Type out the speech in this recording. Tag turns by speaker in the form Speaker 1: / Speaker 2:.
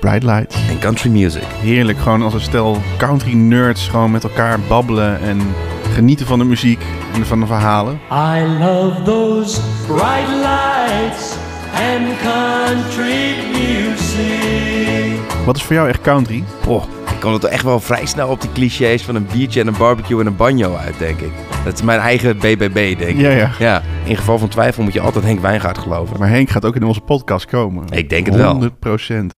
Speaker 1: Bright Lights.
Speaker 2: En country music.
Speaker 1: Heerlijk, gewoon als een stel country nerds gewoon met elkaar babbelen en genieten van de muziek en van de verhalen.
Speaker 3: I love those bright lights and country music.
Speaker 2: Ah.
Speaker 1: Wat is voor jou echt country?
Speaker 2: Poh, ik kon het echt wel vrij snel op die clichés van een biertje en een barbecue en een banjo uit, denk ik. Dat is mijn eigen BBB, denk ik.
Speaker 1: Ja, ja.
Speaker 2: Ja, in geval van twijfel moet je altijd Henk Wijngaard geloven.
Speaker 1: Maar Henk gaat ook in onze podcast komen.
Speaker 2: Ik denk het wel.
Speaker 1: 100 procent.